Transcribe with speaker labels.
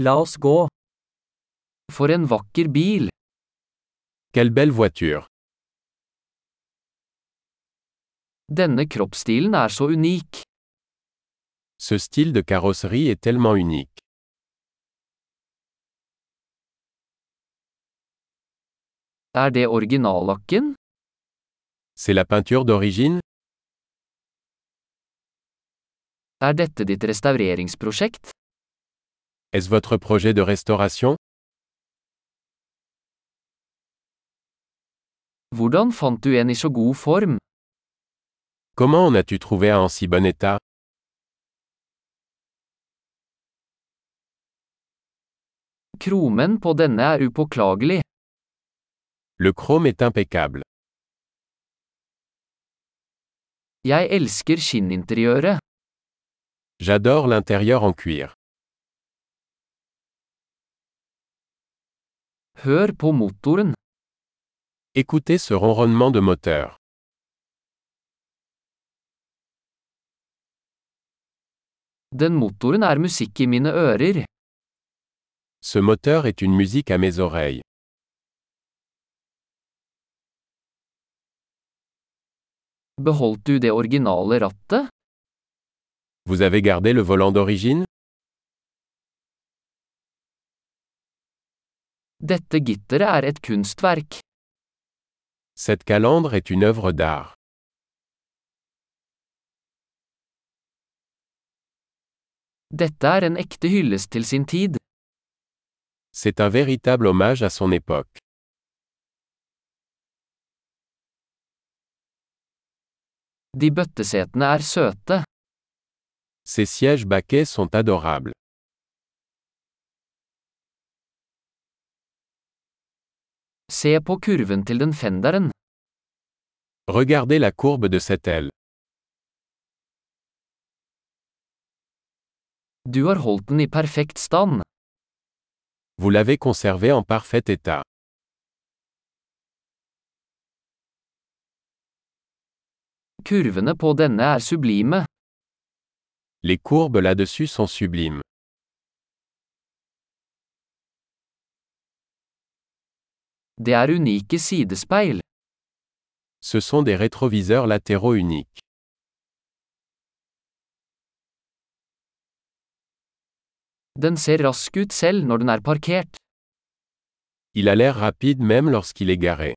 Speaker 1: La oss gå. For en vakker bil.
Speaker 2: Quelle belle voiture.
Speaker 1: Denne kroppsstilen er så unik.
Speaker 2: Ce style de carrosserie est tellement unique.
Speaker 1: Er det originallakken?
Speaker 2: C'est la peinture d'origine
Speaker 1: Er dette ditt restaureringsprosjekt?
Speaker 2: Est-ce votre projet de restauration
Speaker 1: Hvordan fant du en i så god form?
Speaker 2: Comment en as-tu trouvé un en si bon état
Speaker 1: Kromen på denne er upåklagelig.
Speaker 2: Le chrome est impeccable.
Speaker 1: Jeg elsker skinninteriøret.
Speaker 2: J'adore l'intérieur en cuir.
Speaker 1: Hør på motoren.
Speaker 2: Écoutez ce ronronnement de moteur.
Speaker 1: Den motoren er musikk i mine ører.
Speaker 2: Ce moteur est une musique à mes oreilles.
Speaker 1: Beholdt du det originale rattet?
Speaker 2: Vous avez gardé le volant d'origine
Speaker 1: Dette gitteret er et kunstverk.
Speaker 2: Cette calandre est une œuvre d'art.
Speaker 1: Dette er en ekte hyllest til sin tid.
Speaker 2: C'est un véritable hommage à son époque.
Speaker 1: De bøttesetene er søte.
Speaker 2: Ces sièges baquets sont adorables.
Speaker 1: Se på kurven til den fenderen.
Speaker 2: Regardez la courbe de cette aile.
Speaker 1: Du har holdt den i perfekt stand.
Speaker 2: Vous l'avez conservée en parfait état.
Speaker 1: Kurvene på denne er sublime.
Speaker 2: Les courbes là-dessus sont sublimes.
Speaker 1: Det er unike sidespeil.
Speaker 2: Ce sont des rétroviseurs latéraux uniques.
Speaker 1: Den ser rask ut selv når den er parkert.
Speaker 2: Il a l'air rapide même lorsqu'il est garé.